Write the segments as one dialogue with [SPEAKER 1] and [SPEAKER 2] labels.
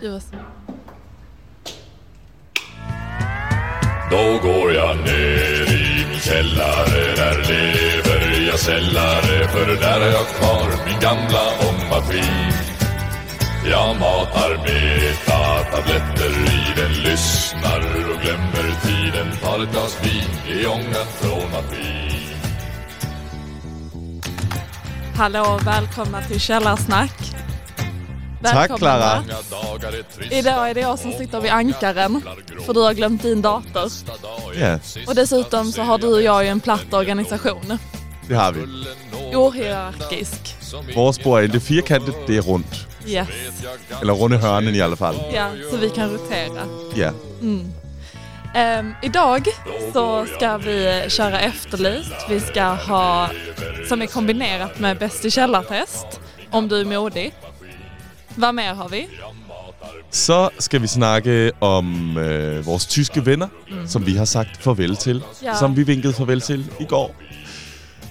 [SPEAKER 1] Det var sådan.
[SPEAKER 2] Då går jag ner i min källare Där lever jag sällare För där har jag kvar min gamla ångmaskin Jag matar beta-tabletter i den Lyssnar och glömmer tiden Tar ett glas vin i ångan från maskin
[SPEAKER 1] Hallå och välkomna till Källarsnack. Välkomna.
[SPEAKER 3] Klara.
[SPEAKER 2] Många dagar är trista
[SPEAKER 1] Idag är det jag som sitter vid ankaren, för du har glömt din dator.
[SPEAKER 2] Nästa dag är
[SPEAKER 3] Ja,
[SPEAKER 1] Och dessutom så har du och jag ju en platt organisation.
[SPEAKER 3] det har vi.
[SPEAKER 1] Ohierarkisk.
[SPEAKER 3] Vores bord er ikke firkantet, det er rundt.
[SPEAKER 1] Yes.
[SPEAKER 3] Eller runde hørnen i hvert fald.
[SPEAKER 1] Ja, så vi kan rotera.
[SPEAKER 3] Ja.
[SPEAKER 1] Ehm, idag så ska vi köra Efterlyst. Vi ska ha, som är kombinerat med Bäst i källartest, om du är modig. Vad mer har vi?
[SPEAKER 3] Så skal vi snakke om øh, vores tyske venner, mm. som vi har sagt farvel til.
[SPEAKER 1] Ja.
[SPEAKER 3] Som vi vinkede farvel til i går.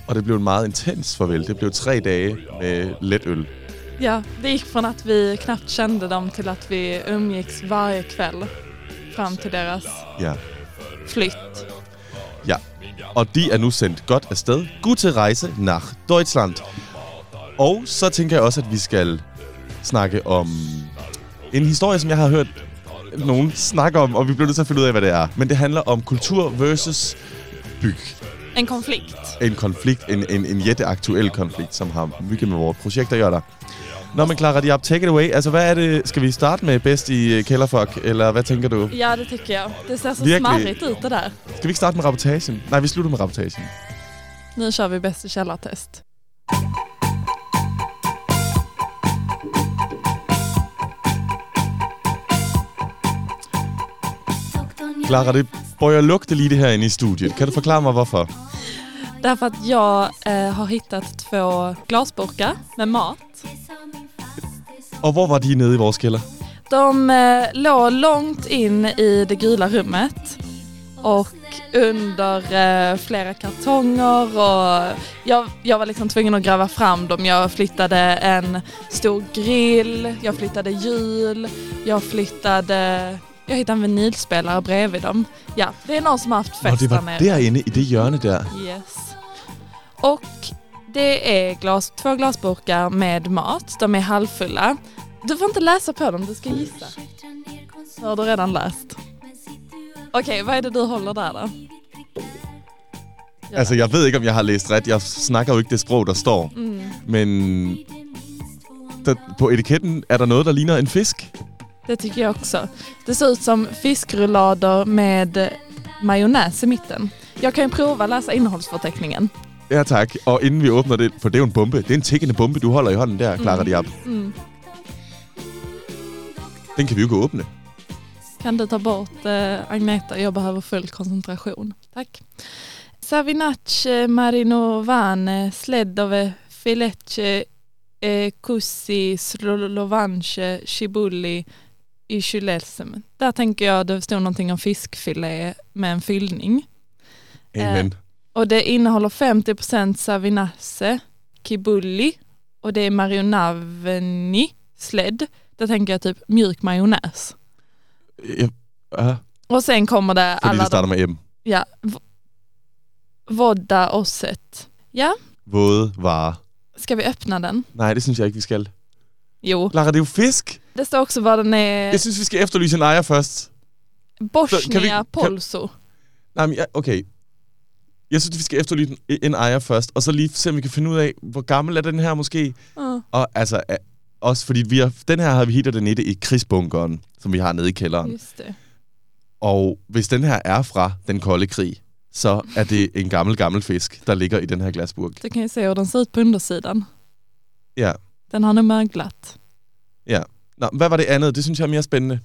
[SPEAKER 3] Og det blev en meget intens farvel. Det blev tre dage med let øl.
[SPEAKER 1] Ja, det gick från att vi knappt kände dem till att vi umgicks varje kväll fram till deras
[SPEAKER 3] Ja.
[SPEAKER 1] flytt.
[SPEAKER 3] ja. Og de er nu sendt godt afsted. Gute rejse nach Deutschland. Og så tænker jeg også, at vi skal snakke om en historie, som jeg har hørt nogen snakke om, og vi bliver nødt til at finde ud af, hvad det er. Men det handler om kultur versus byg.
[SPEAKER 1] En konflikt.
[SPEAKER 3] en konflikt, en, en, en jätteaktuel konflikt, som har mycket med vores projekt at gøre. Nå, men Clara, de op, take it away. Altså, hvad er det? Skal vi starte med bedst i øh, Kælderfolk, eller hvad tænker du?
[SPEAKER 1] Ja, det tycker jag. Det ser så
[SPEAKER 3] Virkelig.
[SPEAKER 1] smarrigt ut det där.
[SPEAKER 3] Skal vi ikke starte med rapportagen? Nej, vi slutter med rapportagen.
[SPEAKER 1] Nu kör vi Bäst i källartest.
[SPEAKER 3] Clara, det bøjer lugte lige det her inde i studiet. Kan du forklare mig, hvorfor?
[SPEAKER 1] Därför att jag eh, har hittat två glasburkar med mat.
[SPEAKER 3] Og hvor var de nede i vores kælder?
[SPEAKER 1] De eh, låg långt in i det gula rummet och under eh, flera kartonger och jag, jag var liksom tvungen att gräva fram dem. Jag flyttade en stor grill, jag flyttade hjul, jag flyttade... Jag hittade en vinylspelare bredvid dem. Ja, det är någon som har haft
[SPEAKER 3] Nå,
[SPEAKER 1] fest
[SPEAKER 3] det
[SPEAKER 1] där
[SPEAKER 3] var
[SPEAKER 1] nere.
[SPEAKER 3] derinde i det hjørne der.
[SPEAKER 1] Yes. Och det är glas, två glasburkar med mat. De är halvfulla. Du får inte läsa på dem, du ska gissa. Har du redan läst? Okej, vad är det du håller där då? Ja.
[SPEAKER 3] Altså, jeg ved ikke, om jeg har læst ret. Jeg snakker jo ikke det sprog, der står. Mm. Men der, på etiketten er der noget, der ligner en fisk.
[SPEAKER 1] Det tycker jag också. Det ser ut som fiskrullader med majonnäs i mitten. Jag kan ju prova läsa innehållsförteckningen.
[SPEAKER 3] Ja tak, og inden vi åbner det, for det er jo en bombe. Det er en tækkende bombe, du holder i hånden der, Clara mm. Diab.
[SPEAKER 1] Mm.
[SPEAKER 3] Den kan vi jo ikke åbne.
[SPEAKER 1] Kan du ta bort eh, Agneta? Jag behöver full koncentration. Tack. Savinace marinovane eh, sledove filecce eh, kussi slovanche cibulli i kylelsem. Där tänker jag det stod någonting om fiskfilé med en fyllning.
[SPEAKER 3] Amen.
[SPEAKER 1] Øh. Och det innehåller 50 savinace kibulli och det är marionavni sledd. Där tänker jag typ mjuk majonnäs.
[SPEAKER 3] Ja, ja,
[SPEAKER 1] Och sen kommer det
[SPEAKER 3] fordi
[SPEAKER 1] alla
[SPEAKER 3] det starter med M.
[SPEAKER 1] Ja. V- Vodda osset. Ja,
[SPEAKER 3] Våde varer.
[SPEAKER 1] ska vi öppna den?
[SPEAKER 3] Nej, det synes jeg ikke, vi skal.
[SPEAKER 1] Jo.
[SPEAKER 3] Clara, det er jo fisk.
[SPEAKER 1] Det står också vad den är.
[SPEAKER 3] Jeg synes, vi skal efterlyse en ejer først. så kan vi-
[SPEAKER 1] Bosnia
[SPEAKER 3] kan-
[SPEAKER 1] Polso.
[SPEAKER 3] Nej, men ja, okay. Jeg synes, vi skal efterlyse en, en ejer først, og så lige se, om vi kan finde ud af, hvor gammel er den her måske.
[SPEAKER 1] Ja.
[SPEAKER 3] Og altså, er- også fordi vi har, den her har vi hittet den i krigsbunkeren, som vi har nede i kælderen.
[SPEAKER 1] Just det.
[SPEAKER 3] Og hvis den her er fra den kolde krig, så er det en gammel, gammel fisk, der ligger i den her glasburg.
[SPEAKER 1] Du kan ju se hur den ser ut på undersidan.
[SPEAKER 3] Ja.
[SPEAKER 1] Den har nog möglat.
[SPEAKER 3] Nå, hvad var det andet? Det synes jeg er mere spændende.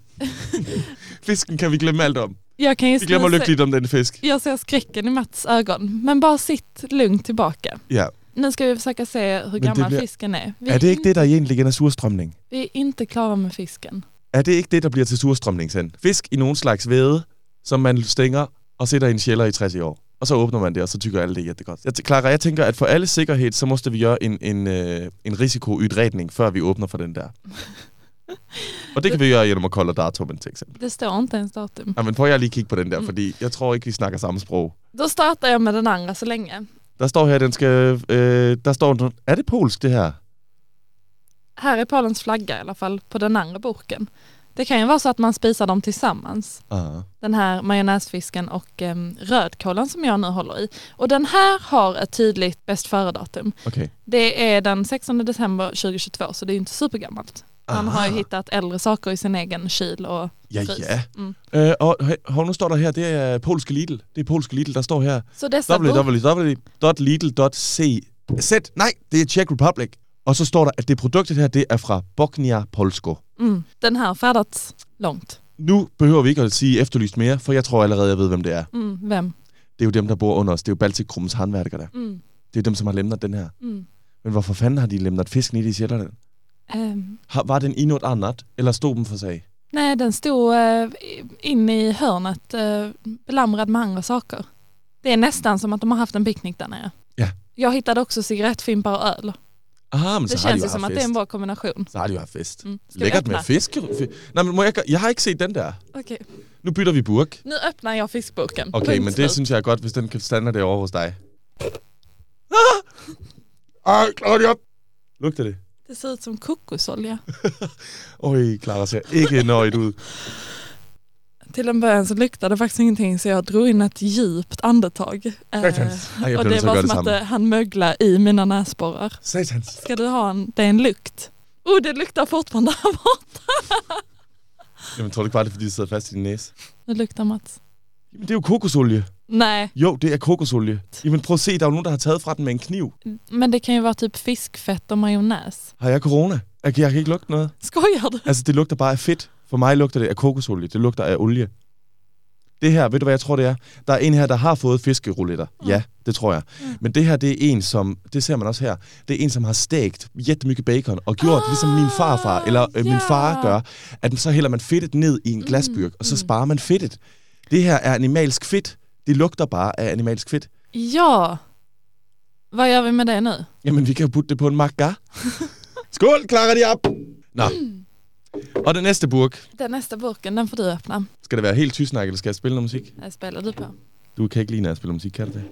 [SPEAKER 3] Fisken kan vi glemme alt om.
[SPEAKER 1] Jag kan just
[SPEAKER 3] Vi
[SPEAKER 1] nu
[SPEAKER 3] glemmer
[SPEAKER 1] se-
[SPEAKER 3] lykkeligt om den fisk.
[SPEAKER 1] Jag ser skräcken i Mats ögon. Men bara sitt lugnt tillbaka.
[SPEAKER 3] Ja.
[SPEAKER 1] Nu ska vi försöka se hur
[SPEAKER 3] det
[SPEAKER 1] gammal
[SPEAKER 3] blir-
[SPEAKER 1] fisken är. Vi
[SPEAKER 3] Er det ikke det, der egentlig igen er surstrømning?
[SPEAKER 1] Vi är inte klara med fisken.
[SPEAKER 3] Er det ikke det, der bliver til surstrømning sen? Fisk i nogen slags væde, som man stænger og sætter i en sjælder i 60 år. Og så åbner man det, og så tykker alle det er jättegodt. Jeg, t- Clara, jeg tænker, at for alle sikkerhed, så måste vi gøre en, en, øh, en risikoudredning, før vi åbner for den der. Og det kan vi gøre gennem at kolde datumen til eksempel.
[SPEAKER 1] Det står inte ens datum.
[SPEAKER 3] Ja, men prøv jeg lige at kigge på den der, fordi jeg tror ikke, vi snakker samme sprog.
[SPEAKER 1] Då startar jag med den andra så länge.
[SPEAKER 3] Der står her, den skal... Øh, der står... Er det polsk, det her?
[SPEAKER 1] Här är Polens flagga i alla fall på den andra burken. Det kan ju vara så att man spisar dem tillsammans.
[SPEAKER 3] Uh-huh.
[SPEAKER 1] Den här majonnäsfisken och eh, rödkålen som jag nu håller i. Och den här har ett tydligt bäst före-datum.
[SPEAKER 3] Okay.
[SPEAKER 1] Det är den 16 december 2022 så det är ju inte supergammalt. Man har ju
[SPEAKER 3] Aha.
[SPEAKER 1] hittat äldre saker i sin egen kyl og
[SPEAKER 3] Ja,
[SPEAKER 1] frys.
[SPEAKER 3] ja.
[SPEAKER 1] Mm.
[SPEAKER 3] Øh, og hov, nu står der her, det er polske Lidl. Det er polske Lidl, der står her.
[SPEAKER 1] Så dessa bur-
[SPEAKER 3] E www.lidl.cz. Nej, det er Czech Republic. Og så står der, at det produktet her, det er fra Bosnia Polsko.
[SPEAKER 1] mm, den här har färdats långt.
[SPEAKER 3] Nu behøver vi ikke at sige efterlyst mere, for jeg tror allerede, jeg ved, hvem det er.
[SPEAKER 1] Mm, vem?
[SPEAKER 3] Det er jo dem, der bor under os. Det er jo Baltikrummens handværker der.
[SPEAKER 1] Mm,
[SPEAKER 3] Det er dem, som har lemnet den her.
[SPEAKER 1] mm.
[SPEAKER 3] Men hvorfor fanden har de lemnet fisken i det i Sjælland?
[SPEAKER 1] Ehm,
[SPEAKER 3] Har, var den i noget andet, eller stod dem for sig?
[SPEAKER 1] nej, den stod eh, inne i hörnet eh, belamrad med andra saker. Det är nästan som att de har haft en picknick där nere.
[SPEAKER 3] Ja.
[SPEAKER 1] Jag hittade också cigarettfimpar och öl.
[SPEAKER 3] Aha, men
[SPEAKER 1] Det
[SPEAKER 3] så har de
[SPEAKER 1] känns
[SPEAKER 3] jo
[SPEAKER 1] ju som att
[SPEAKER 3] haft
[SPEAKER 1] det är
[SPEAKER 3] fest.
[SPEAKER 1] en bra kombination.
[SPEAKER 3] Så har de jo haft fest.
[SPEAKER 1] Mm. Ska vi
[SPEAKER 3] Lækkert med
[SPEAKER 1] öppna?
[SPEAKER 3] fisk. Fi- Nej, men må jeg, gøre- jeg har ikke set den der.
[SPEAKER 1] Okej.
[SPEAKER 3] Nu bytter vi burk.
[SPEAKER 1] Nu öppnar jag fiskburken.
[SPEAKER 3] Okay,
[SPEAKER 1] Punkt
[SPEAKER 3] men det
[SPEAKER 1] slut.
[SPEAKER 3] synes jeg er godt, hvis den kan stande derovre hos dig. Ah! Ej, Claudia! Lugter det?
[SPEAKER 1] det ser ut som kokosolja.
[SPEAKER 3] Oj, Clara ser ikke nøjet ud.
[SPEAKER 1] Till en början så luktade det faktiskt ingenting så jag drog in ett djupt andetag. Eh,
[SPEAKER 3] Satans. Ej, jeg
[SPEAKER 1] och
[SPEAKER 3] bliver nødt
[SPEAKER 1] det
[SPEAKER 3] til at
[SPEAKER 1] var
[SPEAKER 3] gøre det
[SPEAKER 1] som att
[SPEAKER 3] samme.
[SPEAKER 1] eh, han möglade i mina näsborrar.
[SPEAKER 3] Satans.
[SPEAKER 1] Ska du ha en, det är en lukt. Oh, det luktar fortfarande här borta.
[SPEAKER 3] Jamen, tror du ikke bare, det er, fordi det sidder fast i din næse?
[SPEAKER 1] Nu luktar Mats.
[SPEAKER 3] Jamen, det er jo kokosolie.
[SPEAKER 1] Nej,
[SPEAKER 3] Jo, det er kokosolie. Jamen, prøv at se, der er jo nogen, der har taget fra den med en kniv.
[SPEAKER 1] men det kan ju vara typ fiskfett och majonnäs.
[SPEAKER 3] Har jag corona? Jeg kan, jeg kan ikke lugte noget.
[SPEAKER 1] Skojar du?
[SPEAKER 3] Altså, det lugter bare af fedt. For mig lugter det af kokosolie. Det lugter af olie. Det her, ved du hvad jeg tror, det er? Der er en her, der har fået fiskerouletter. Mm. Ja, det tror jeg. Mm. Men det her, det er en, som... Det ser man også her. Det er en, som har stegt jättemycket bacon og gjort, ah, ligesom min farfar eller øh, min
[SPEAKER 1] ja.
[SPEAKER 3] far gør, at så hælder man fedtet ned i en glasbyrk, og så sparer man fedtet. Det her er animalsk fedt. Det lugter bare af animalsk fedt.
[SPEAKER 1] Ja. Vad gör vi med det nu?
[SPEAKER 3] Jamen, vi kan jo putte det på en makka. Skål, klarer de op! Nå. Og det næste burk.
[SPEAKER 1] Den nästa burken, den får du öppna.
[SPEAKER 3] Skal det være helt tysnak, eller skal jeg spille noget musik?
[SPEAKER 1] Här spelar du på.
[SPEAKER 3] Du kan ikke lide, når jeg spiller musik, kan du det?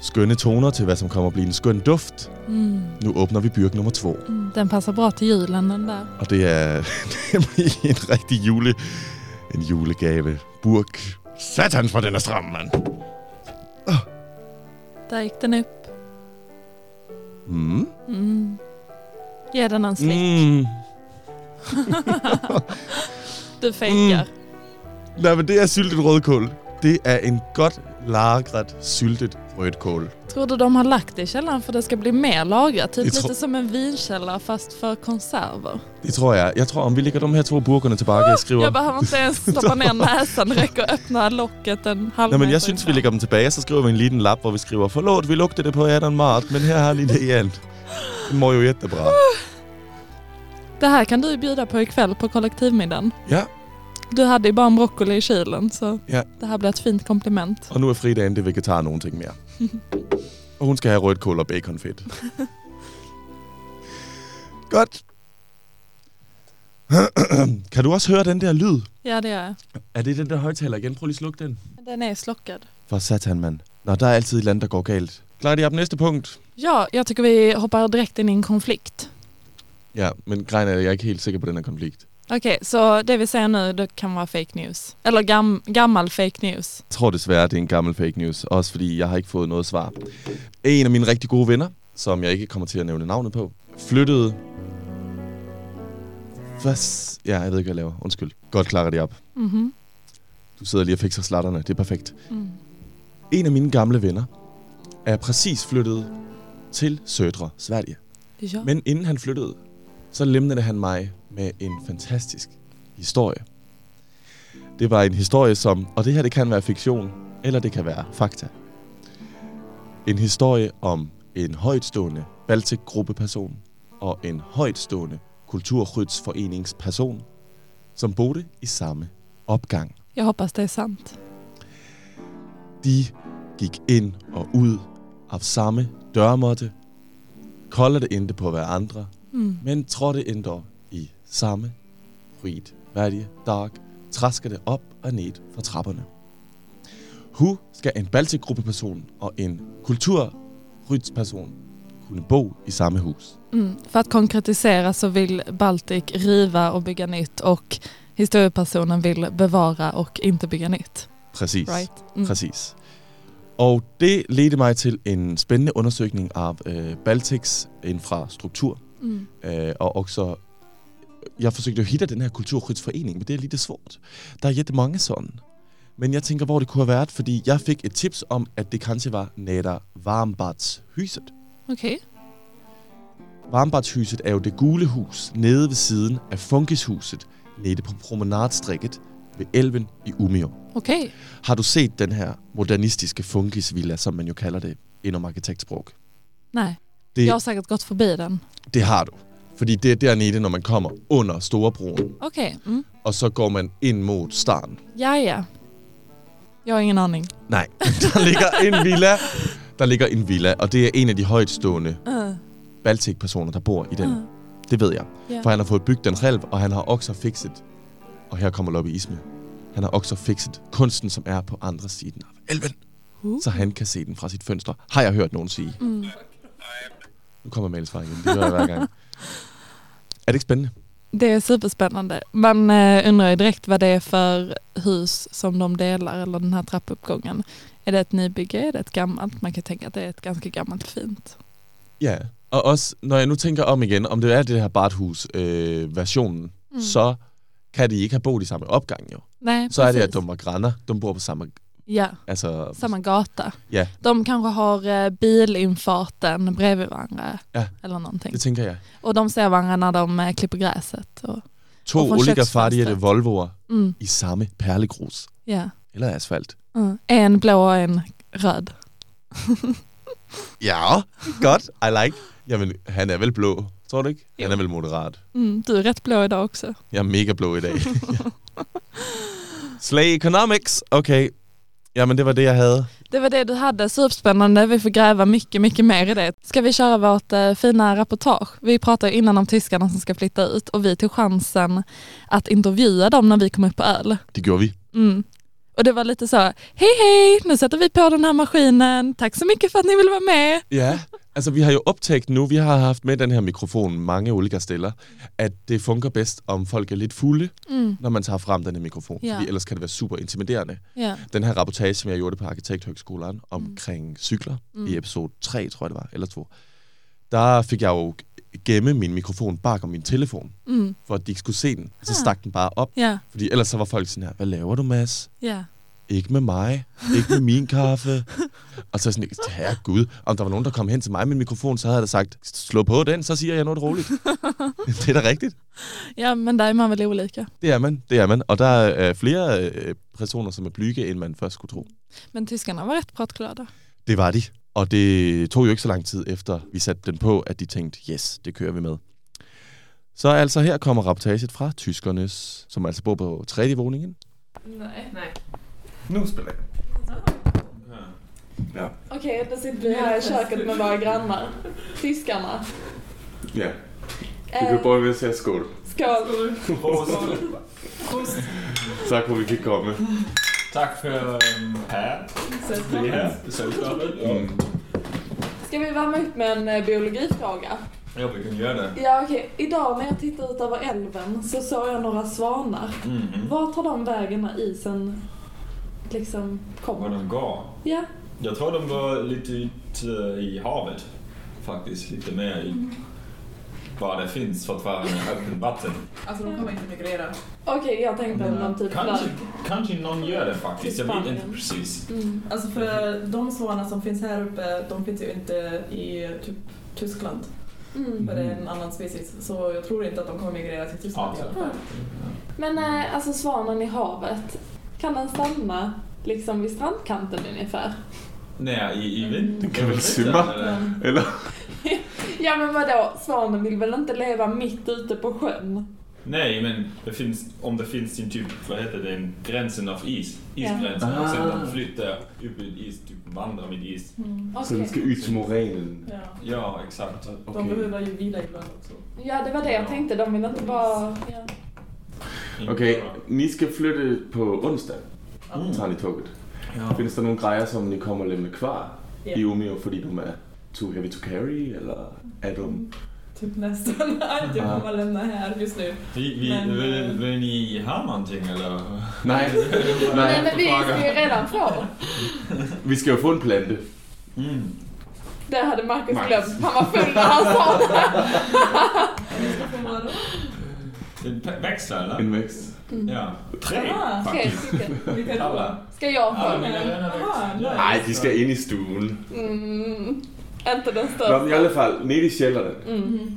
[SPEAKER 3] Skønne toner til, hvad som kommer at blive en skøn duft.
[SPEAKER 1] Mm.
[SPEAKER 3] Nu åbner vi byrk nummer to.
[SPEAKER 1] Mm. Den passar bra till julen den där.
[SPEAKER 3] Og det er nemlig en rigtig jule... En julegave. Burk. Satan, for den er stram, mand.
[SPEAKER 1] Där gick den upp.
[SPEAKER 3] Mm.
[SPEAKER 1] Mm. Ge den en slick.
[SPEAKER 3] Mm.
[SPEAKER 1] Du fejkar.
[SPEAKER 3] Mm. Nej, men det er syltet rødkål. Det er en godt lagret syltet rødkål.
[SPEAKER 1] Tror du de har lagt det i källaren för det ska bli mer lagrat? Typ
[SPEAKER 3] Jag tror-
[SPEAKER 1] lite som en vinkällare fast för konserver.
[SPEAKER 3] Det tror jeg. Jeg tror, om vi lægger de her to burkerne tilbage, jeg skriver...
[SPEAKER 1] Jag behöver inte ens stoppa ner näsan, det räcker att öppna locket en halv
[SPEAKER 3] Nej, men
[SPEAKER 1] meter
[SPEAKER 3] jeg synes, vi
[SPEAKER 1] ifrån.
[SPEAKER 3] lægger dem tilbage, så skriver vi en liten lap, hvor vi skriver, forlåt, vi lugter det på Adam Mart, men her har ni det igen. Det må jo jättebra.
[SPEAKER 1] Det här kan du bjuda på ikväll på kollektivmiddagen.
[SPEAKER 3] Ja,
[SPEAKER 1] Du hade ju bara en broccoli i kylen så
[SPEAKER 3] Ja.
[SPEAKER 1] det här blir ett fint komplement.
[SPEAKER 3] og nu er fridagen, det er vegetar nogen ting mere. Og hun skal have rødkål og baconfedt. Godt. kan du også høre den der lyd?
[SPEAKER 1] Ja det gör jag.
[SPEAKER 3] Er det den der højtaler igen? Prøv lige at slukke den.
[SPEAKER 1] Den är slockad.
[SPEAKER 3] For satan, mand. Nå, der er altid et eller andet, der går galt. Klarer de op næste punkt?
[SPEAKER 1] Ja, jeg tycker vi hoppar direkt in i en konflikt.
[SPEAKER 3] Ja, men grejen er, at jeg er ikke helt sikker på den her konflikt.
[SPEAKER 1] Okej, så det vi säger nu det kan vara fake news. Eller gam gammal fake news.
[SPEAKER 3] Jeg tror desværre, det er en gammel fake news, også fordi jeg har ikke fået noget svar. En af mine rigtig gode venner, som jeg ikke kommer til at nævne navnet på, flyttede... Hvad? Ja, jeg ved ikke, hvad jeg laver. Undskyld. Godt klarer det op.
[SPEAKER 1] Mhm.
[SPEAKER 3] Du sidder lige og fikser slatterne. Det er perfekt.
[SPEAKER 1] Mm.
[SPEAKER 3] En af mine gamle venner er præcis flyttet til Sødre, Sverige.
[SPEAKER 1] Ja.
[SPEAKER 3] Men inden han flyttede, så lemnede han mig med en fantastisk historie. Det var en historie som, og det her det kan være fiktion, eller det kan være fakta. En historie om en højtstående Baltic-gruppeperson og en højtstående kulturskyddsforeningsperson, som boede i samme opgang.
[SPEAKER 1] Jag hoppas det är sant.
[SPEAKER 3] de gik ind og ud af samme dørmåtte, koldede ikke på hverandre,
[SPEAKER 1] Mm.
[SPEAKER 3] men trådte endda i samme rigt værdige dag, traskede op og ned fra trapperne. Hu skal en baltiggruppeperson og en kulturrytsperson kunne bo i samme hus.
[SPEAKER 1] Mm. För att konkretisera så vill Baltic riva och bygga nytt och historiepersonen vill bevara och inte bygga nytt.
[SPEAKER 3] Præcis.
[SPEAKER 1] Right? Mm.
[SPEAKER 3] Præcis. Og det ledte mig til en spændende undersøgning af øh, Baltics infrastruktur.
[SPEAKER 1] Mm.
[SPEAKER 3] Øh, og også, øh, jeg forsøgte at hitte den her kulturskyddsforening, men det er lidt svårt. Der er jette mange sådan. Men jeg tænker, hvor det kunne have været, fordi jeg fik et tips om, at det kanskje var Nader Varmbadshuset.
[SPEAKER 1] Okej.
[SPEAKER 3] Varmbadshuset er jo det gule hus nede ved siden af Funkishuset, nede på promenadstrikket ved elven i Umeå.
[SPEAKER 1] Okej.
[SPEAKER 3] Har du set den her modernistiske funkisvilla, som man jo kalder det inden arkitektsprog?
[SPEAKER 1] Nej,
[SPEAKER 3] Det,
[SPEAKER 1] jag har säkert gått förbi den.
[SPEAKER 3] det har du. Fordi det er dernede, når man kommer under Storebroen,
[SPEAKER 1] Okej. Mm.
[SPEAKER 3] og så går man ind mod Starn.
[SPEAKER 1] Ja, ja. Jag har ingen aning.
[SPEAKER 3] Nej, der ligger en villa. Der ligger en villa, og det er en af de højtstående
[SPEAKER 1] Uh,
[SPEAKER 3] Baltic-personer, der bor i den.
[SPEAKER 1] uh,
[SPEAKER 3] Det ved jeg.
[SPEAKER 1] Ja.
[SPEAKER 3] For han har fået bygget den selv, og han har også fikset, og her kommer lobbyisme, han har også fikset kunsten, som er på andre siden af elven.
[SPEAKER 1] Uh.
[SPEAKER 3] Så han kan se den fra sit fønster, har jeg hørt nogen sige.
[SPEAKER 1] Mm.
[SPEAKER 3] Nu kommer Males far igen, det gør jeg hver gang. Er det ikke spændende?
[SPEAKER 1] Det är superspännande. Man eh, undrar ju direkt vad det är för hus som de delar eller den här trappuppgången. Är det ett nybygge? Är det ett gammalt? Man kan tänka att det är ett ganska gammalt fint.
[SPEAKER 3] Ja, og også når jeg nu tænker om igen, om det er det her Barthus-versionen, øh, mm. så kan de ikke have boet i samme opgang jo.
[SPEAKER 1] Nej,
[SPEAKER 3] Så er det,
[SPEAKER 1] precis.
[SPEAKER 3] at de var granner, de bor på samme...
[SPEAKER 1] Ja,
[SPEAKER 3] Altså,
[SPEAKER 1] samma gata.
[SPEAKER 3] Ja.
[SPEAKER 1] De kanske har eh, bilinfarten bredvid varandra
[SPEAKER 3] Ja.
[SPEAKER 1] eller någonting.
[SPEAKER 3] det tænker jeg.
[SPEAKER 1] Och de ser varandra när de eh, klipper gräset. Och,
[SPEAKER 3] To
[SPEAKER 1] Og fra
[SPEAKER 3] oligarfartige
[SPEAKER 1] Sjøtsfrosten.
[SPEAKER 3] Volvoer
[SPEAKER 1] mm,
[SPEAKER 3] i samme perlegrus.
[SPEAKER 1] ja.
[SPEAKER 3] Eller asfalt.
[SPEAKER 1] mm. En blå och en röd.
[SPEAKER 3] Ja, godt. I like. Jamen, han er vel blå, tror du ikke? Han
[SPEAKER 1] Jo.
[SPEAKER 3] er vel moderat.
[SPEAKER 1] Mm, du är rätt blå idag också.
[SPEAKER 3] Jeg er mega blå i dag. Slay Economics. Okay. Jamen, det var det, jeg havde.
[SPEAKER 1] Det var det du hade, superspännande. Vi får gräva mycket, mycket mer i det. Ska vi köra vårt eh, fina reportage? Vi pratade ju innan om tyskarna som ska flytta ut och vi tog chansen att intervjua dem när vi kom upp på öl.
[SPEAKER 3] Det gjorde vi.
[SPEAKER 1] Mm. Och det var lite så, hej hej, nu sätter vi på den här maskinen. Tack så mycket för att ni vill vara med.
[SPEAKER 3] Ja, altså vi har jo optaget nu, vi har haft med den her mikrofon mange oligarstiller, at det fungerer bedst, om folk er lidt fulde,
[SPEAKER 1] Mm.
[SPEAKER 3] når man tager frem den her mikrofon.
[SPEAKER 1] Ja.
[SPEAKER 3] Ja. Fordi ellers kan det være super intimiderende.
[SPEAKER 1] Ja.
[SPEAKER 3] Den her rapportage, som jeg gjorde på Arkitekthøgskolen omkring cykler
[SPEAKER 1] Mm.
[SPEAKER 3] mm. i episode 3, tror jeg det var, eller 2, der fik jeg jo gemme min mikrofon bag om min telefon,
[SPEAKER 1] Mm.
[SPEAKER 3] for at de ikke skulle se den. Så
[SPEAKER 1] Ah.
[SPEAKER 3] stak den bare op,
[SPEAKER 1] Ja.
[SPEAKER 3] fordi ellers så var folk sådan her, hvad laver du, Mads?
[SPEAKER 1] Ja.
[SPEAKER 3] ikke med mig, ikke med min kaffe. Og så sådan, herre Gud, om der var nogen, der kom hen til mig med en mikrofon, så havde jeg da sagt, slå på den, så siger jeg noget roligt. det er da rigtigt.
[SPEAKER 1] ja, men där är man väl olika.
[SPEAKER 3] Det er man, det er man. Og der er øh, flere øh, personer, som er blyge, end man først skulle tro.
[SPEAKER 1] Men tyskarna var rätt pratglada.
[SPEAKER 3] Det var de. Og det tog jo ikke så lang tid efter, vi satte den på, at de tænkte, yes, det kører vi med. Så altså her kommer rapportaget fra tyskernes, som altså bor på 3. våningen.
[SPEAKER 1] Nej.
[SPEAKER 4] Nu spelar jag.
[SPEAKER 1] Okej, okay, då sitter vi här i köket med våra grannar. Tyskarna.
[SPEAKER 4] Ja. Du går bara vill säga skål.
[SPEAKER 1] Eh, Skål.
[SPEAKER 4] Tack för att vi fick komma.
[SPEAKER 5] Tak for øhm, her. Det her. Selskabet. Mm.
[SPEAKER 1] Ska vi värma upp med en eh, biologifråga?
[SPEAKER 5] Jeg vil gerne gøre det.
[SPEAKER 1] Ja okej, idag när jag tittade ut över älven så såg jag några svanar.
[SPEAKER 5] Mm-hmm.
[SPEAKER 1] Var tar de vägen när isen liksom
[SPEAKER 5] Hvor
[SPEAKER 1] kommer?
[SPEAKER 5] de går.
[SPEAKER 1] Ja,
[SPEAKER 5] Jeg tror, de går lidt ud øh, i havet. Faktisk lidt mere i hvor det finns fortfarande öppen vatten.
[SPEAKER 6] Alltså de kommer inte migrera.
[SPEAKER 1] okej jag tänkte om de typ
[SPEAKER 5] Kanske,
[SPEAKER 1] flög.
[SPEAKER 5] kanske någon gör det faktiskt, jag vet inte
[SPEAKER 1] Spanien.
[SPEAKER 5] precis.
[SPEAKER 1] Mm.
[SPEAKER 6] Alltså för de svanar som finns här uppe, de finns ju inte i typ Tyskland.
[SPEAKER 1] Mm.
[SPEAKER 6] För det är en annan species. Så jag tror inte att de kommer migrera till Tyskland i
[SPEAKER 5] Ja,
[SPEAKER 6] alla fall.
[SPEAKER 1] Men eh, alltså svanen i havet, kan den stanna liksom vid strandkanten ungefär?
[SPEAKER 5] Nej, i, i vind.
[SPEAKER 4] Den kan väl simma?
[SPEAKER 5] Eller-
[SPEAKER 4] Eller?
[SPEAKER 1] Ja men vadå, svanen vill väl inte leva mitt ute på sjön?
[SPEAKER 5] Nej, men det finns, om det finns en typ, vad heter den, gränsen av is. Isgränsen.
[SPEAKER 3] Ja.
[SPEAKER 5] Och sen
[SPEAKER 3] Ah.
[SPEAKER 5] de flyttar upp i is, typ vandrar med is.
[SPEAKER 3] Så den ska ut som morenen.
[SPEAKER 1] Ja.
[SPEAKER 5] Ja, exakt.
[SPEAKER 1] De
[SPEAKER 3] Okej.
[SPEAKER 1] behöver ju vila ibland också.
[SPEAKER 6] Ja, det var det jag tänkte. De vill inte bara... Ja.
[SPEAKER 3] Okej, ni ska flytta på onsdag. Tager ni tåget.
[SPEAKER 5] Ja.
[SPEAKER 3] Finns det någon grejer som ni kommer lämna kvar
[SPEAKER 1] Ja.
[SPEAKER 3] i Umeå fordi de är too heavy to carry eller är
[SPEAKER 6] Mm.
[SPEAKER 3] de...
[SPEAKER 1] Typ nästan allt jag kommer lämna här just nu.
[SPEAKER 5] Vi, vi,
[SPEAKER 1] Men-
[SPEAKER 5] vill, vill ni ha någonting eller?
[SPEAKER 3] Nej,
[SPEAKER 6] Nej,
[SPEAKER 3] nej.
[SPEAKER 6] men vi ska ju redan få.
[SPEAKER 3] Vi ska ju få en plante.
[SPEAKER 5] Mm.
[SPEAKER 6] Det hade Marcus
[SPEAKER 3] Marcus.
[SPEAKER 6] glömt. Han var full när han sa det.
[SPEAKER 5] En pe- Växlar eller?
[SPEAKER 3] En växt.
[SPEAKER 5] Ja. Mm. Tre
[SPEAKER 1] Ah.
[SPEAKER 6] Tre
[SPEAKER 5] faktiskt.
[SPEAKER 6] stycken.
[SPEAKER 1] Vilka då?
[SPEAKER 5] Alla.
[SPEAKER 6] Ska jag
[SPEAKER 5] Alla
[SPEAKER 6] få?
[SPEAKER 5] mina
[SPEAKER 1] Ah,
[SPEAKER 5] gröna
[SPEAKER 1] Aha,
[SPEAKER 5] växlar.
[SPEAKER 3] Nej, de ska in i stuen.
[SPEAKER 6] Mm, inte
[SPEAKER 3] Nå,
[SPEAKER 6] den
[SPEAKER 3] men i
[SPEAKER 6] största.
[SPEAKER 3] alla fall, nere i källaren.
[SPEAKER 6] Mm-hmm.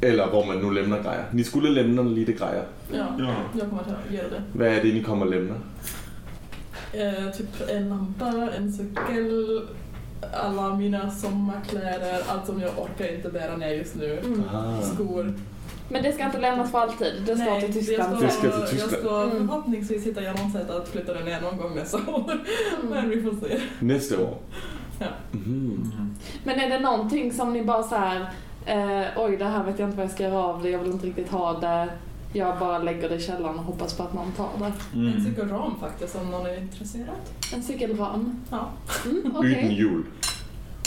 [SPEAKER 3] Eller var man nu lämnar grejer. Ni skulle lämna lite grejer.
[SPEAKER 1] Ja,
[SPEAKER 5] Ja.
[SPEAKER 1] jag kommer att göra det.
[SPEAKER 3] Vad är det ni kommer lämna?
[SPEAKER 1] Eh, typ en lampa, en cykel, alla mina sommarkläder, allt som jag orkar inte bära ner just nu.
[SPEAKER 6] Mm.
[SPEAKER 3] Ah.
[SPEAKER 1] Skor.
[SPEAKER 6] Men det ska inte lämnas för alltid. Det står
[SPEAKER 1] Nej,
[SPEAKER 6] till
[SPEAKER 1] jag
[SPEAKER 6] Tyskland.
[SPEAKER 1] ska-
[SPEAKER 3] Det ska till
[SPEAKER 1] Jag
[SPEAKER 3] Tyskland.
[SPEAKER 1] ska
[SPEAKER 6] Mm.
[SPEAKER 1] förhoppningsvis hitta jag något sätt att flytta den ner någon gång nästa år.
[SPEAKER 6] Mm.
[SPEAKER 1] Men vi får se.
[SPEAKER 3] Nästa år.
[SPEAKER 1] Ja.
[SPEAKER 3] Mhm.
[SPEAKER 6] Men är det någonting som ni bara så här, eh, oj det här vet jag inte vad jag ska göra av det, jag vill inte riktigt ha det. Jag bara lägger det i källaren och hoppas på att någon tar det.
[SPEAKER 1] En
[SPEAKER 5] Mm.
[SPEAKER 1] cykelram faktiskt om någon är intresserad.
[SPEAKER 6] En cykelram.
[SPEAKER 1] Ja,
[SPEAKER 6] Mm,
[SPEAKER 3] Utan
[SPEAKER 6] Okej.
[SPEAKER 3] jul.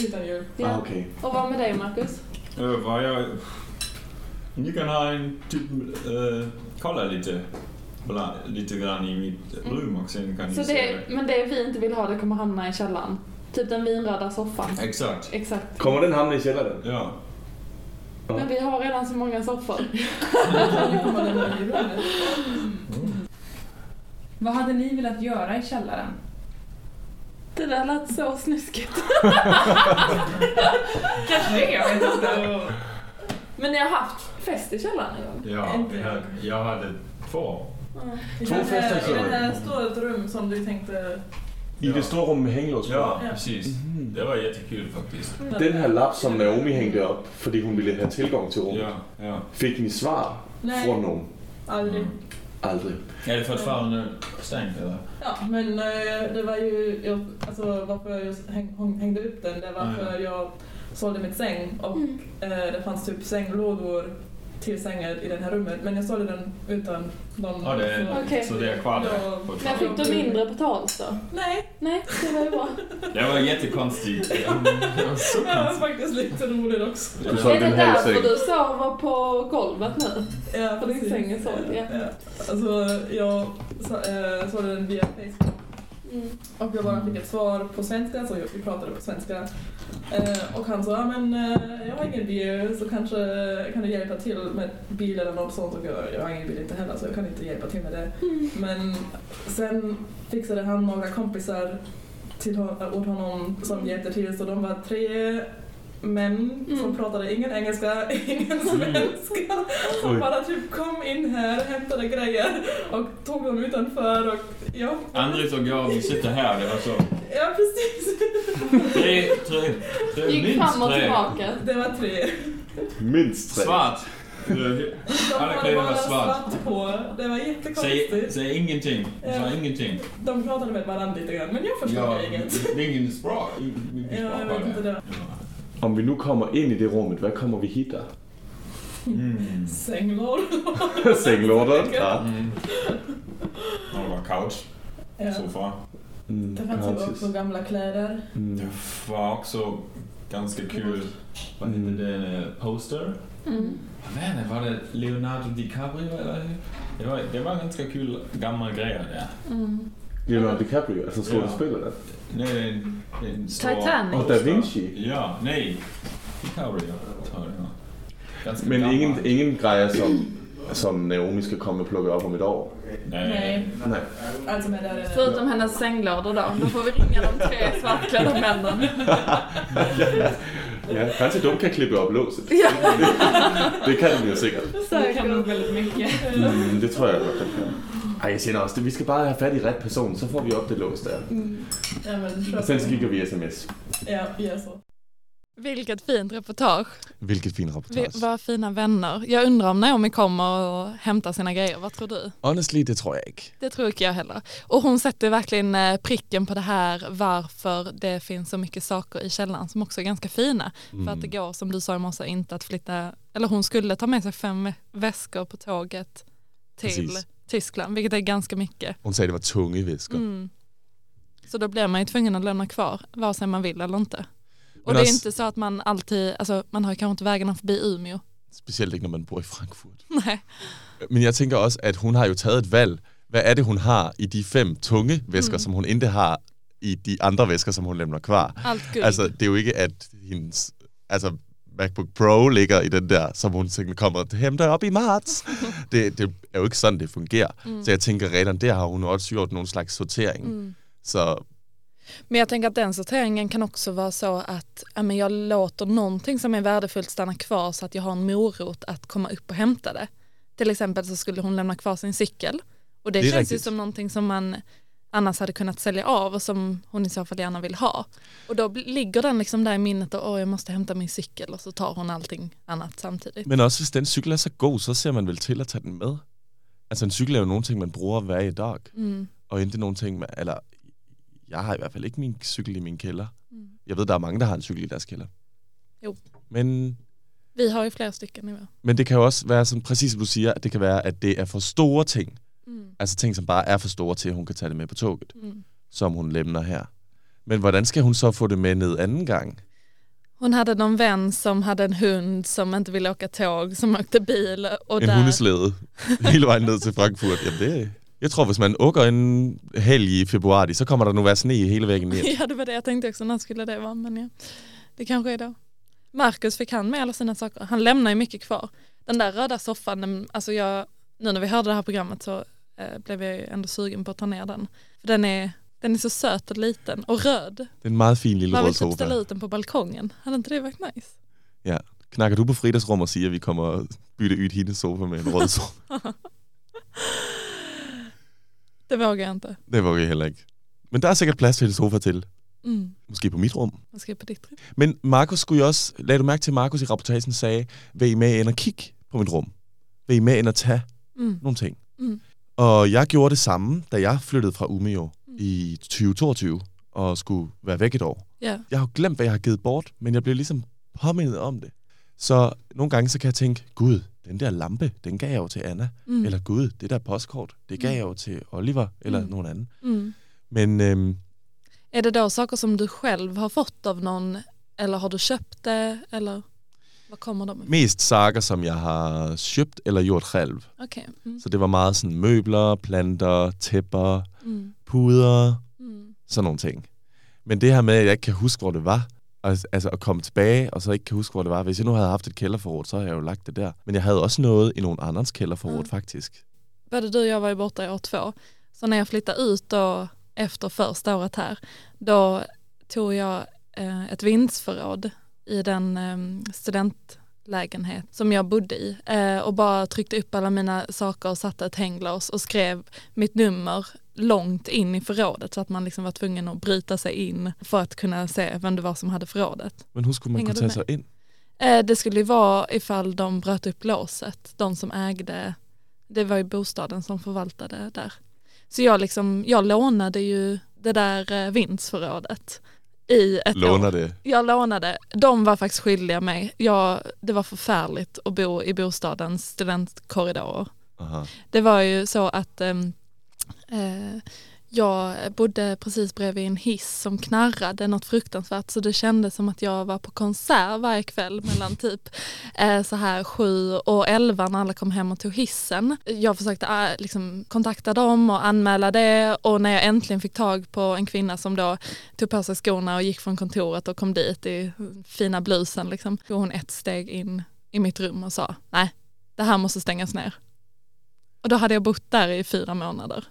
[SPEAKER 1] utan jul.
[SPEAKER 3] Ah,
[SPEAKER 6] Ja.
[SPEAKER 3] okej.
[SPEAKER 6] Och vad med dig Marcus?
[SPEAKER 5] Eh, Vad jag... Ni kan ha en typ... eh, kolla lite. Bla, lite grann i mitt rum och sen kan ni
[SPEAKER 6] Så
[SPEAKER 5] se
[SPEAKER 6] det, men det vi inte vill ha det kommer hamna i källaren. Typ den vinröda soffan.
[SPEAKER 5] det. Exakt.
[SPEAKER 6] Exakt.
[SPEAKER 3] Kommer den hamna i källaren?
[SPEAKER 5] Ja.
[SPEAKER 6] Men vi har redan så många soffor.
[SPEAKER 1] Vi kommer lämna julen.
[SPEAKER 7] Mm. Vad hade ni velat göra i källaren?
[SPEAKER 6] Det där lät så snuskigt.
[SPEAKER 7] Kanske det, jag vet inte.
[SPEAKER 6] Men ni har haft fest i källaren en gång?
[SPEAKER 5] Ja, vi hade, jag hade två.
[SPEAKER 3] Två
[SPEAKER 1] Det här-
[SPEAKER 3] fester
[SPEAKER 1] Det här står ett rum som du tänkte...
[SPEAKER 3] I det stora rummet med hänglås på.
[SPEAKER 5] Ja, Mhm.
[SPEAKER 1] Ja.
[SPEAKER 5] precis. Det var jättekul faktiskt.
[SPEAKER 3] Den här lapp som Naomi hängde upp fordi hon ville ha tillgång till rummet.
[SPEAKER 5] Ja, ja.
[SPEAKER 3] Fick ni svar
[SPEAKER 1] Nej.
[SPEAKER 3] från Mm. någon?
[SPEAKER 1] Aldrig.
[SPEAKER 3] Aldrig.
[SPEAKER 5] Är det fortfarande stängt eller?
[SPEAKER 1] Ja, men eh, det var ju... Jag, alltså varför jag just häng, häng- hängde upp den, det var
[SPEAKER 5] Ah, ja.
[SPEAKER 1] för jag sålde mitt säng och
[SPEAKER 6] Mm.
[SPEAKER 1] eh, det fanns typ sänglådor till sängen i det här rummet. Men jag sålde den utan någon...
[SPEAKER 5] Ja, det är,
[SPEAKER 6] Okej.
[SPEAKER 5] Så det är kvar
[SPEAKER 1] Ja.
[SPEAKER 5] där
[SPEAKER 6] Men
[SPEAKER 5] fortfarande.
[SPEAKER 6] fick du mindre betalt då?
[SPEAKER 1] Nej,
[SPEAKER 6] Nej, det var ju bra.
[SPEAKER 5] Det var jättekonstigt.
[SPEAKER 1] det var faktiskt lite roligt också.
[SPEAKER 3] Du
[SPEAKER 6] Är
[SPEAKER 3] sålde
[SPEAKER 6] det
[SPEAKER 3] en halv
[SPEAKER 6] därför
[SPEAKER 3] säng.
[SPEAKER 6] du sover på golvet nu?
[SPEAKER 1] Ja,
[SPEAKER 6] För din
[SPEAKER 1] precis.
[SPEAKER 6] säng är såld, ja.
[SPEAKER 1] ja. Alltså, jag så- eh, sålde den via Facebook.
[SPEAKER 6] Mm.
[SPEAKER 1] Och jag bara fick ett svar på svenska, så jag- vi pratade på svenska. Eh, och han sa, ja men eh, jag har ingen bil så kanske kan du hjälpa till med bil eller något sånt. Och jag, jag har ingen bil inte heller så jag kan inte hjälpa till med det. Men sen fixade han några kompisar till, hon- åt honom som hjälpte till så de var tre män som
[SPEAKER 6] Mm.
[SPEAKER 1] pratade ingen engelska, ingen svenska. Som
[SPEAKER 3] Oj.
[SPEAKER 1] bara typ kom in här, hämtade grejer och tog dem utanför och ja,
[SPEAKER 5] Andres och jag, vi sitter här. Det var så.
[SPEAKER 1] ja precis.
[SPEAKER 5] Tre, tre, tre,
[SPEAKER 6] Gick
[SPEAKER 5] minst
[SPEAKER 6] fram och
[SPEAKER 5] tre.
[SPEAKER 6] tillbaka.
[SPEAKER 1] Det var tre.
[SPEAKER 3] Minst tre.
[SPEAKER 5] Svart. Øh,
[SPEAKER 1] De
[SPEAKER 5] Alla
[SPEAKER 1] hade
[SPEAKER 5] kläder var
[SPEAKER 1] bara
[SPEAKER 5] svart.
[SPEAKER 1] svart på. Det var
[SPEAKER 5] Säg,
[SPEAKER 1] jättekonstigt.
[SPEAKER 5] säg ingenting.
[SPEAKER 1] Ja.
[SPEAKER 5] Säg ingenting.
[SPEAKER 1] De pratade med varandra lite grann, men jag förstod inget.
[SPEAKER 5] det är ingen språk. Ingen
[SPEAKER 1] Ja, jag
[SPEAKER 5] språk
[SPEAKER 1] vet inte
[SPEAKER 5] var det.
[SPEAKER 1] det.
[SPEAKER 3] Om vi nu kommer in i det rummet, vad kommer vi hitta?
[SPEAKER 5] Mm.
[SPEAKER 1] Sänglor.
[SPEAKER 3] Sänglådan? Ja.
[SPEAKER 5] Det var couch,
[SPEAKER 1] Ja.
[SPEAKER 5] soffa.
[SPEAKER 3] Mm,
[SPEAKER 1] Det fanns ju också
[SPEAKER 3] gratis.
[SPEAKER 1] gamla kläder.
[SPEAKER 3] Mm.
[SPEAKER 5] Det var också ganska kul. Vad hette
[SPEAKER 3] Mm.
[SPEAKER 5] det? Poster?
[SPEAKER 6] Mm.
[SPEAKER 5] Men var det Leonardo DiCaprio eller? Det var, det var ganska kul gammal grejer där.
[SPEAKER 6] Mm.
[SPEAKER 3] Leonardo DiCaprio, altså alltså skådespelaren.
[SPEAKER 5] Nej, det är en, det är en stor
[SPEAKER 7] Titanic.
[SPEAKER 3] Och Da Vinci.
[SPEAKER 5] Ja, nej. DiCaprio tror jag. Ganska
[SPEAKER 3] Men
[SPEAKER 5] gammal.
[SPEAKER 3] ingen, ingen grejer som, som Naomi ska komma och plocka upp om ett år.
[SPEAKER 5] Nej.
[SPEAKER 1] Nej,
[SPEAKER 3] Nej.
[SPEAKER 1] allt som är där är
[SPEAKER 6] Förutom hennes sänglådor då. Då får vi ringa de tre svartklädda männen.
[SPEAKER 3] Ja, kanske de kan klippa upp låset.
[SPEAKER 6] Ja.
[SPEAKER 3] Det kan de ju säkert.
[SPEAKER 7] Du kan nog väldigt mycket.
[SPEAKER 3] Mm, det tror jeg godt, den kan. Ej, jeg siger også, vi skal bare have fat i ret person, så får vi op Mm. det lås der.
[SPEAKER 1] Ja, men
[SPEAKER 3] Og
[SPEAKER 1] köp.
[SPEAKER 3] sen så kigger vi sms.
[SPEAKER 1] Ja, vi är så. Vilket fint reportage.
[SPEAKER 3] Vilket fin
[SPEAKER 1] Vi
[SPEAKER 3] reportage.
[SPEAKER 1] var fina vänner. Jag undrar om Naomi kommer och hämtar sina grejer. Vad tror du?
[SPEAKER 3] Honestly, det tror jeg ikke.
[SPEAKER 1] Det tror inte jag heller. Och hon sätter verkligen eh, pricken på det här varför det finns så mycket saker i källaren som också är ganska fina. För
[SPEAKER 3] Mm.
[SPEAKER 1] att det går som du sa i morse inte att flytta, eller hon skulle ta med sig fem väskor på tåget till
[SPEAKER 3] Precis.
[SPEAKER 1] Tyskland, vilket är ganska mycket.
[SPEAKER 3] Mm. Hun sagde, det var tunge væsker. Mm.
[SPEAKER 1] Mm. Så då blir man ju tvungen att lämna kvar, vare sig man vill eller inte. Och
[SPEAKER 3] Men
[SPEAKER 1] det är
[SPEAKER 3] alltså-
[SPEAKER 1] inte så att man alltid, altså man har kanske inte vägarna förbi Umeå.
[SPEAKER 3] Specielt ikke, når man bor i Frankfurt.
[SPEAKER 1] Nej.
[SPEAKER 3] Men jeg tænker også, at hun har jo taget et valg. Hvad er det, hun har i de fem tunge væsker, mm. som hun ikke har i de andre væsker, som hun lemner kvar?
[SPEAKER 1] Allt guld.
[SPEAKER 3] Altså, det er jo ikke, at hendes altså, MacBook Pro ligger i den der, som hun tænker, kommer og henter op i marts. det, det er jo ikke sådan, det fungerer. Mm. Så jeg tænker, reglerne der har hun også gjort nogen slags sortering. Mm. Så
[SPEAKER 1] Men jag tänker att den sorteringen kan också vara så att ja, men jag låter någonting som är värdefullt stanna kvar så att jag har en morot att komma upp och hämta det. Till exempel så skulle hon lämna kvar sin cykel och det,
[SPEAKER 3] Det är
[SPEAKER 1] känns ju
[SPEAKER 3] riktigt.
[SPEAKER 1] som någonting som man annars hade kunnat sälja av och som hon i så fall gärna vill ha. Och då bl- ligger den liksom där i minnet och åh jag måste hämta min cykel och så tar hon allting annat samtidigt.
[SPEAKER 3] Men også hvis den cykel er så god, så ser man vel til at tage den med. Altså en cykel er jo nogle ting, man bruger hver i dag.
[SPEAKER 1] Mm.
[SPEAKER 3] Og ikke nogle ting, man, eller jeg har i hvert fald ikke min cykel i min kælder. Mm. Jeg ved, der er mange, der har en cykel i deres kælder.
[SPEAKER 1] Jo.
[SPEAKER 3] Men,
[SPEAKER 1] Vi har ju flera stycken nu.
[SPEAKER 3] men det kan jo også være sådan, præcis som du siger, at det kan være, at det er for store ting.
[SPEAKER 1] Mm.
[SPEAKER 3] Altså ting, som bare er for store til, at hun kan tage det med på toget,
[SPEAKER 1] Mm.
[SPEAKER 3] som hun lemner her. Men hvordan skal hun så få det med ned anden gang?
[SPEAKER 1] Hon hade någon vän som hade en hund som inte ville åka tåg som åkte bil och
[SPEAKER 3] en
[SPEAKER 1] där...
[SPEAKER 3] hundeslæde hele vejen ned til Frankfurt. Jamen det, jeg tror, hvis man åker en helg i februar, så kommer der nu være sne hele vägen ned.
[SPEAKER 1] Ja det var det jag tänkte också, när skulle det vara? Men ja, det kanske är då. Marcus fick han med alla sina saker, han lämnar ju mycket kvar. Den där röda soffan, den, alltså jag, altså, nu när vi hörde det här programmet så eh, blev jag ju ändå sugen på att ta ner den. För den är, den är så söt og liten och röd.
[SPEAKER 3] Det er en meget fin lille
[SPEAKER 1] Man
[SPEAKER 3] rød
[SPEAKER 1] vill typ ställa
[SPEAKER 3] sofa.
[SPEAKER 1] ut den på balkongen. Hade inte det varit nice?
[SPEAKER 3] Ja. Knakker du på fredagsrum og siger, at vi kommer og bytte ud hendes sofa med en rød sofa?
[SPEAKER 1] Det vågar jag inte.
[SPEAKER 3] det var jeg heller ikke. Men der er sikkert plads til en sofa till.
[SPEAKER 1] Mm.
[SPEAKER 3] Måske på mit rum.
[SPEAKER 1] Man ska på ditt rum.
[SPEAKER 3] Men Markus skulle jo også... Lad du mærke til, at Markus i rapportagen sagde, vil I med ind og kigge på mit rum? Vil I med ind og tage
[SPEAKER 1] Mm.
[SPEAKER 3] nogle ting?
[SPEAKER 1] Mm.
[SPEAKER 3] Og jeg gjorde det samme, da jeg flyttede fra Umeå
[SPEAKER 1] Mm.
[SPEAKER 3] i 2022 og skulle være væk et år.
[SPEAKER 1] Ja.
[SPEAKER 3] Jeg har jo glemt, hvad jeg har givet bort, men jeg blev ligesom påmindet om det. Så nogle gange så kan jeg tænke, gud, den der lampe, den gav jeg jo til Anna. Mm. Eller gud, det der postkort, det gav jeg jo til Oliver eller mm. nogen anden.
[SPEAKER 1] Mm.
[SPEAKER 3] Men øhm,
[SPEAKER 1] Är det då saker som du själv har fått av någon eller har du köpt det eller vad kommer de ifrån?
[SPEAKER 3] mest saker, som jeg har købt eller gjort selv.
[SPEAKER 1] Okej. Mm.
[SPEAKER 3] Så det var meget sådan møbler, planter, tæpper,
[SPEAKER 1] Mm.
[SPEAKER 3] puder,
[SPEAKER 1] Mm.
[SPEAKER 3] sådan nogle ting. Men det her med, at jeg ikke kan huske, hvor det var, og, altså at komme tilbage, og så ikke kan huske, hvor det var. Hvis jeg nu havde haft et kælderforråd, så havde jeg jo lagt det der. Men jeg havde også noget i nogen andres kælderforråd,
[SPEAKER 1] Mm.
[SPEAKER 3] mm. faktisk.
[SPEAKER 1] Både du och jag var ju borta i år två. Så när jag flyttade ut då efter första året här då tog jag eh, ett vindsförråd i den eh, studentlägenhet som jag bodde i eh, och bara tryckte upp alla mina saker och satte ett hänglås och skrev mitt nummer långt in i förrådet så att man liksom var tvungen att bryta sig in för att kunna se vem det var som hade förrådet.
[SPEAKER 3] Men husk, man
[SPEAKER 1] Hænger
[SPEAKER 3] kunne
[SPEAKER 1] du
[SPEAKER 3] tage
[SPEAKER 1] med?
[SPEAKER 3] sig ind.
[SPEAKER 1] Eh, Det skulle ju vara ifall de bröt upp låset, de som ägde, det var ju bostaden som förvaltade där. Så jag, liksom, jag lånade ju det där eh, vindsförrådet i ett
[SPEAKER 3] Låner
[SPEAKER 1] år.
[SPEAKER 3] det.
[SPEAKER 1] Jag lånade, de var faktiskt skyldiga mig. Jag, det var förfärligt att bo i bostadens studentkorridorer.
[SPEAKER 3] Aha.
[SPEAKER 1] Det var ju så att ehm, eh, jag bodde precis bredvid en hiss som knarrade något fruktansvärt så det kändes som att jag var på konsert varje kväll mellan typ eh, så här sju och elva när alla kom hem och tog hissen. Jag försökte eh, liksom, kontakta dem och anmäla det och när jag äntligen fick tag på en kvinna som då tog på sig skorna och gick från kontoret och kom dit i fina blusen liksom, tog hon ett steg in i mitt rum och sa nej, det här måste stängas ner. Och då hade jag bott där i fyra månader.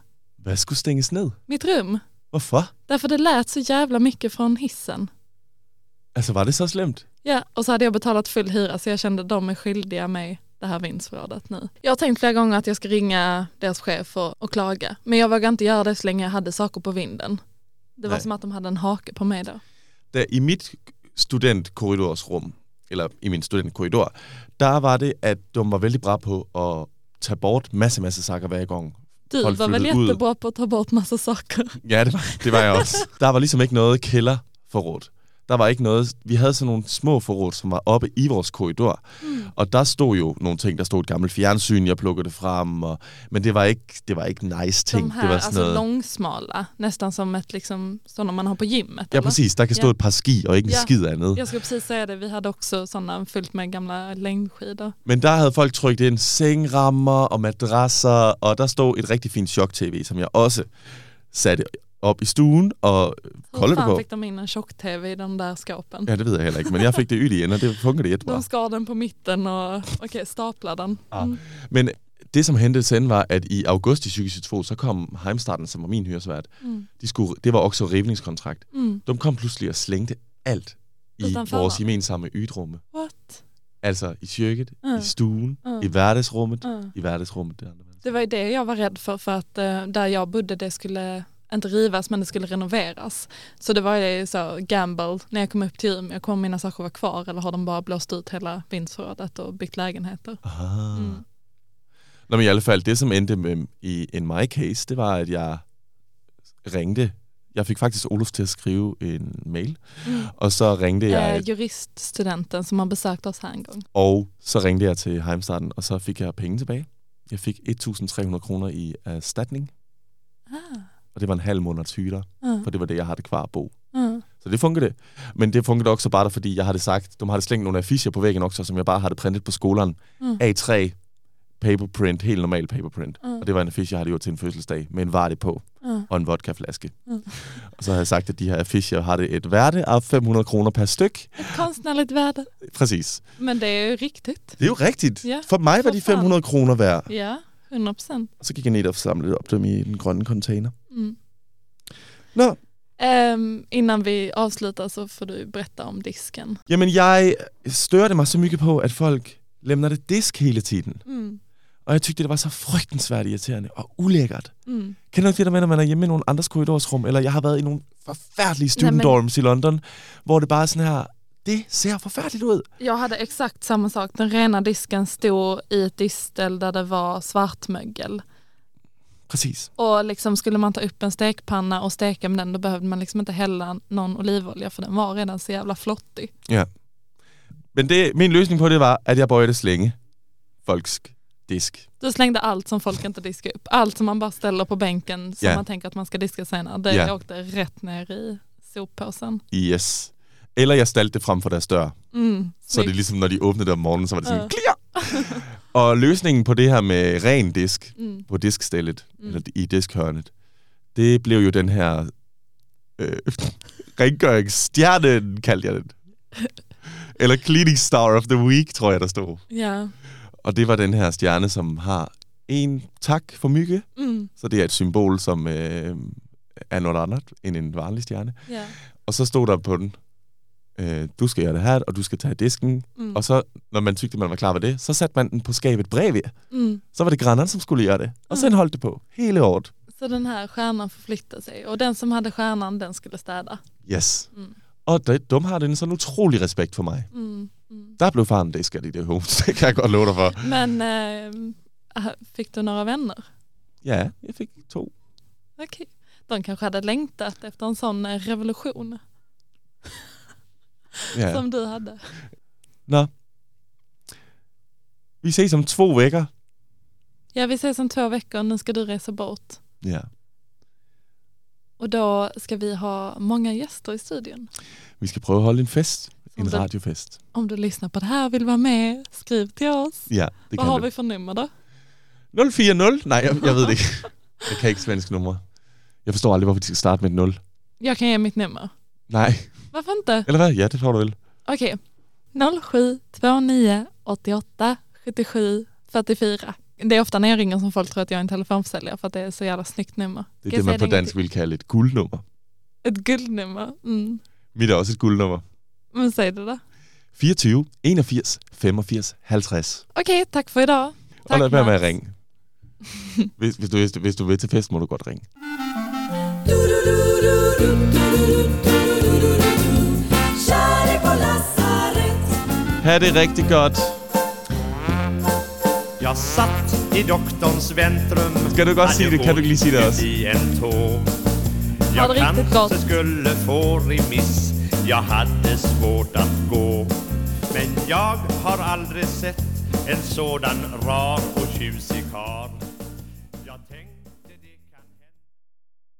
[SPEAKER 3] Hvad skulle stænges ned?
[SPEAKER 1] Mitt rum.
[SPEAKER 3] Hvorfor?
[SPEAKER 1] Därför det lät så jävla mycket från hissen.
[SPEAKER 3] Altså, var det så slemt?
[SPEAKER 1] Ja, och så hade jag betalat full hyra så jag kände de är skyldiga mig det här vindsförrådet nu. Jag har tänkt flera gånger att jag ska ringa deras chef och, och klaga. Men jag vågade inte göra det så länge jag hade saker på vinden. Det var
[SPEAKER 3] Nej.
[SPEAKER 1] som att de hade en hake på mig då.
[SPEAKER 3] Da, I mit studentkorridorsrum, eller i min studentkorridor, der var det, at de var väldigt bra på att ta bort massa, massa saker varje gång.
[SPEAKER 1] Du
[SPEAKER 3] Folk
[SPEAKER 1] var väl
[SPEAKER 3] flyttade ut.
[SPEAKER 1] jättebra på att ta bort massa saker.
[SPEAKER 3] Ja, det var, det var jeg også. Der var ligesom ikke noget kælderforråd. Der var ikke noget... Vi havde sådan nogle små forråd, som var oppe i vores korridor. Mm. Og der stod jo nogle ting. Der stod et gammelt fjernsyn, jeg plukkede det frem. Og, men det var ikke, det var ikke nice ting.
[SPEAKER 1] De här,
[SPEAKER 3] det var
[SPEAKER 1] alltså långsmala, nästan som ett liksom, sådana man har på gymmet.
[SPEAKER 3] Ja,
[SPEAKER 1] eller?
[SPEAKER 3] præcis. Der kan stå
[SPEAKER 1] Ja.
[SPEAKER 3] et par ski og ikke en
[SPEAKER 1] Ja.
[SPEAKER 3] skid andet.
[SPEAKER 1] Jag skulle precis säga det, vi hade också sådana fyllt med gamla längdskidor.
[SPEAKER 3] Men der havde folk trykt ind sengrammer og madrasser, og der stod et rigtig fint chok-tv, som jeg også satte op i stuen og
[SPEAKER 1] Hur
[SPEAKER 3] kollede
[SPEAKER 1] fan
[SPEAKER 3] på.
[SPEAKER 1] fick de in en tjock-tv i de där skåpen?
[SPEAKER 3] Ja, det ved jeg heller ikke, men jeg fik det ydt igen, og det fungerede jättebra.
[SPEAKER 1] De skar den på mitten och okej, staplar den.
[SPEAKER 3] Ja.
[SPEAKER 1] Mm.
[SPEAKER 3] Men det, som hentede sen, var, at i august i 2022, så kom Heimstaden, som var min hyresvært.
[SPEAKER 1] Mm.
[SPEAKER 3] De skulle, det var også rivningskontrakt.
[SPEAKER 1] Mm.
[SPEAKER 3] De kom pludselig og slængte alt i
[SPEAKER 1] Utanför
[SPEAKER 3] vores
[SPEAKER 1] varandra.
[SPEAKER 3] gemensamme ytrumme.
[SPEAKER 1] What?
[SPEAKER 3] Altså i køkkenet,
[SPEAKER 1] Ja.
[SPEAKER 3] i stuen,
[SPEAKER 1] Ja.
[SPEAKER 3] i hverdagsrummet,
[SPEAKER 1] Ja.
[SPEAKER 3] i hverdagsrummet. Det andre.
[SPEAKER 1] Mm. Det var ju det jag var rädd för, för att eh, där jag bodde det skulle inte rivas men det skulle renoveras. Så det var ju så gamble när jag kom upp till Umeå, kommer mina saker vara kvar eller har de bara blåst ut hela vindsförrådet och byggt lägenheter?
[SPEAKER 3] Ah.
[SPEAKER 1] Mm.
[SPEAKER 3] Nå, men i alle fald, det som endte med i en my case, det var, at jeg ringte. Jeg fik faktisk Olof til at skrive en mail,
[SPEAKER 1] Mm.
[SPEAKER 3] og så ringte jeg...
[SPEAKER 1] Eh, juriststudenten som har besökt oss här en gång.
[SPEAKER 3] Og så ringte jeg til Heimstaden, og så fik jeg penge tilbage. Jeg fik 1.300 kroner i erstatning,
[SPEAKER 1] Ah.
[SPEAKER 3] og det var en halv måneds hyre,
[SPEAKER 1] Ja,
[SPEAKER 3] for det var det, jeg havde kvar at bo.
[SPEAKER 1] ja.
[SPEAKER 3] Så det fungerede. Men det fungerede også bare, fordi jeg havde sagt, de havde slængt nogle affischer på væggen også, som jeg bare havde printet på skolen.
[SPEAKER 1] Mm.
[SPEAKER 3] A3 paperprint, helt normal paperprint.
[SPEAKER 1] Mm.
[SPEAKER 3] Og det var en affiche, jeg havde gjort til en fødselsdag, med en varde på
[SPEAKER 1] Mm.
[SPEAKER 3] og en vodkaflaske.
[SPEAKER 1] Mm.
[SPEAKER 3] Og så havde jeg sagt, at de her affischer havde et værde af 500 kroner per styk.
[SPEAKER 1] Ett konstnärligt värde.
[SPEAKER 3] Præcis.
[SPEAKER 1] Men det är ju riktigt.
[SPEAKER 3] Det er jo rigtigt.
[SPEAKER 1] Ja,
[SPEAKER 3] For mig var
[SPEAKER 1] for
[SPEAKER 3] de
[SPEAKER 1] fanden.
[SPEAKER 3] 500 kroner værd.
[SPEAKER 1] Ja, 100 procent.
[SPEAKER 3] Og så gik jeg ned og samlede op dem i den grønne container.
[SPEAKER 1] Mm.
[SPEAKER 3] Nå,
[SPEAKER 1] Ehm, innan vi avslutar så får du berätta om disken.
[SPEAKER 3] jamen jeg størte mig så mycket på, at folk lämnade det disk hele tiden.
[SPEAKER 1] Mm.
[SPEAKER 3] Og jeg tykte, det var så frygtensvært irriterende og ulækkert.
[SPEAKER 1] Mm.
[SPEAKER 3] Kan du ikke det der med, når man er hjemme i nogle andres korridorsrum, eller jeg har været i nogle forfærdelige student
[SPEAKER 1] Jamen.
[SPEAKER 3] dorms i London, hvor det bare er sådan her, det ser forfærdeligt ud.
[SPEAKER 1] Jag hade exakt samma sak. Den rena disken stod i ett distel där det var svartmögel.
[SPEAKER 3] Præcis.
[SPEAKER 1] Och liksom skulle man ta upp en stekpanna och steka med den då behövde man liksom inte hälla någon olivolja för den var redan så jävla flottig.
[SPEAKER 3] Men det, min løsning på det var, at jeg bøjede slænge folks disk.
[SPEAKER 1] Du slängde allt som folk inte diskar upp. Allt som man bara ställer på bänken som
[SPEAKER 3] Ja.
[SPEAKER 1] man tänker att man ska diska senare. Det
[SPEAKER 3] Ja.
[SPEAKER 1] åkte rätt ner i soppåsen.
[SPEAKER 3] Yes. Eller jeg stalte det frem for deres dør.
[SPEAKER 1] Mm,
[SPEAKER 3] Så det er
[SPEAKER 1] snyggt.
[SPEAKER 3] ligesom, når de åbnede det om morgenen, så var det sådan,
[SPEAKER 1] Ja.
[SPEAKER 3] klir! og løsningen på det her med ren disk,
[SPEAKER 1] mm.
[SPEAKER 3] på diskstellet,
[SPEAKER 1] Mm.
[SPEAKER 3] mm. eller i diskhørnet, det blev jo den her øh, rengøringsstjernen, kaldte jeg den. eller Cleaning Star of the Week, tror jeg, der stod.
[SPEAKER 1] Ja.
[SPEAKER 3] Og det var den her stjerne, som har en tak for mygge,
[SPEAKER 1] Mm.
[SPEAKER 3] så det er et symbol, som øh, er noget andet end en vanlig stjerne.
[SPEAKER 1] ja.
[SPEAKER 3] Og så stod der på den, øh, du skal gøre det her, og du skal tage disken,
[SPEAKER 1] Mm.
[SPEAKER 3] og så, når man tykte, man var klar ved det, så satte man den på skabet bredvid.
[SPEAKER 1] Mm.
[SPEAKER 3] Så var det grannerne, som skulle göra det. Och sen holdt det på hele året.
[SPEAKER 1] Så den här stjärnan förflyttar sig och den som hade stjärnan den skulle städa.
[SPEAKER 3] Yes.
[SPEAKER 1] Mm.
[SPEAKER 3] Og de, de har en sådan utrolig respekt for mig.
[SPEAKER 1] Mm. Mm.
[SPEAKER 3] Der blev faren disket i det hus, det kan jeg godt love dig for.
[SPEAKER 1] Men eh, fick du några vänner?
[SPEAKER 3] Ja, jeg fik to.
[SPEAKER 1] Okej. De kanske hade längtat efter en sån eh, revolution
[SPEAKER 3] Ja.
[SPEAKER 1] som du hade.
[SPEAKER 3] Nå. Vi ses om två veckor.
[SPEAKER 1] Ja, vi ses om två veckor. Nu ska du resa bort.
[SPEAKER 3] Ja.
[SPEAKER 1] Och då ska vi ha många gäster i studion.
[SPEAKER 3] Vi skal prøve at holde en fest.
[SPEAKER 1] Som
[SPEAKER 3] En
[SPEAKER 1] den-
[SPEAKER 3] radiofest.
[SPEAKER 1] Om du lyssnar på det här och vill vara med, skriv till oss.
[SPEAKER 3] Ja, det
[SPEAKER 1] Vad har
[SPEAKER 3] kan
[SPEAKER 1] vi
[SPEAKER 3] vi.
[SPEAKER 1] för nummer då?
[SPEAKER 3] 040? Nej, jeg, jeg ved det ikke. Jeg kan ikke svensk numre. Jeg forstår aldrig, hvorfor de skal starte med et 0.
[SPEAKER 1] Jag kan ge mitt nummer.
[SPEAKER 3] Nej.
[SPEAKER 1] Varför inte?
[SPEAKER 3] Eller hvad? Ja, det tror du vel.
[SPEAKER 1] Okej. 0729 88 77 44. Det är ofta när jag ringer som folk tror att jag är en telefonförsäljare för att det är så jävla snyggt nummer.
[SPEAKER 3] Det er
[SPEAKER 1] Kan jag
[SPEAKER 3] det, man på
[SPEAKER 1] säga en gång
[SPEAKER 3] dansk
[SPEAKER 1] till?
[SPEAKER 3] vil kalde et guldnummer.
[SPEAKER 1] Ett guldnummer. Mm.
[SPEAKER 3] Mit er også et guldnummer.
[SPEAKER 1] Men säg det då.
[SPEAKER 3] 24, 81, 85, 50.
[SPEAKER 1] Okej, tack för idag.
[SPEAKER 3] og lad være med at
[SPEAKER 1] Mats.
[SPEAKER 3] ringe. Hvis, hvis, du, hvis, du, hvis du vil til fest, må du godt ringe.
[SPEAKER 8] Shawty boy,
[SPEAKER 3] Ha' det rigtig godt.
[SPEAKER 8] Jag satt i doktorns väntrum
[SPEAKER 3] Ska du gå och se det? Kan du glida i det också?
[SPEAKER 8] i en tå
[SPEAKER 1] Ha det
[SPEAKER 8] Jag
[SPEAKER 1] riktigt gott.
[SPEAKER 8] kanske skulle få remiss Jag hade svårt att gå Men jag har aldrig sett en sådan rar och tjusig karl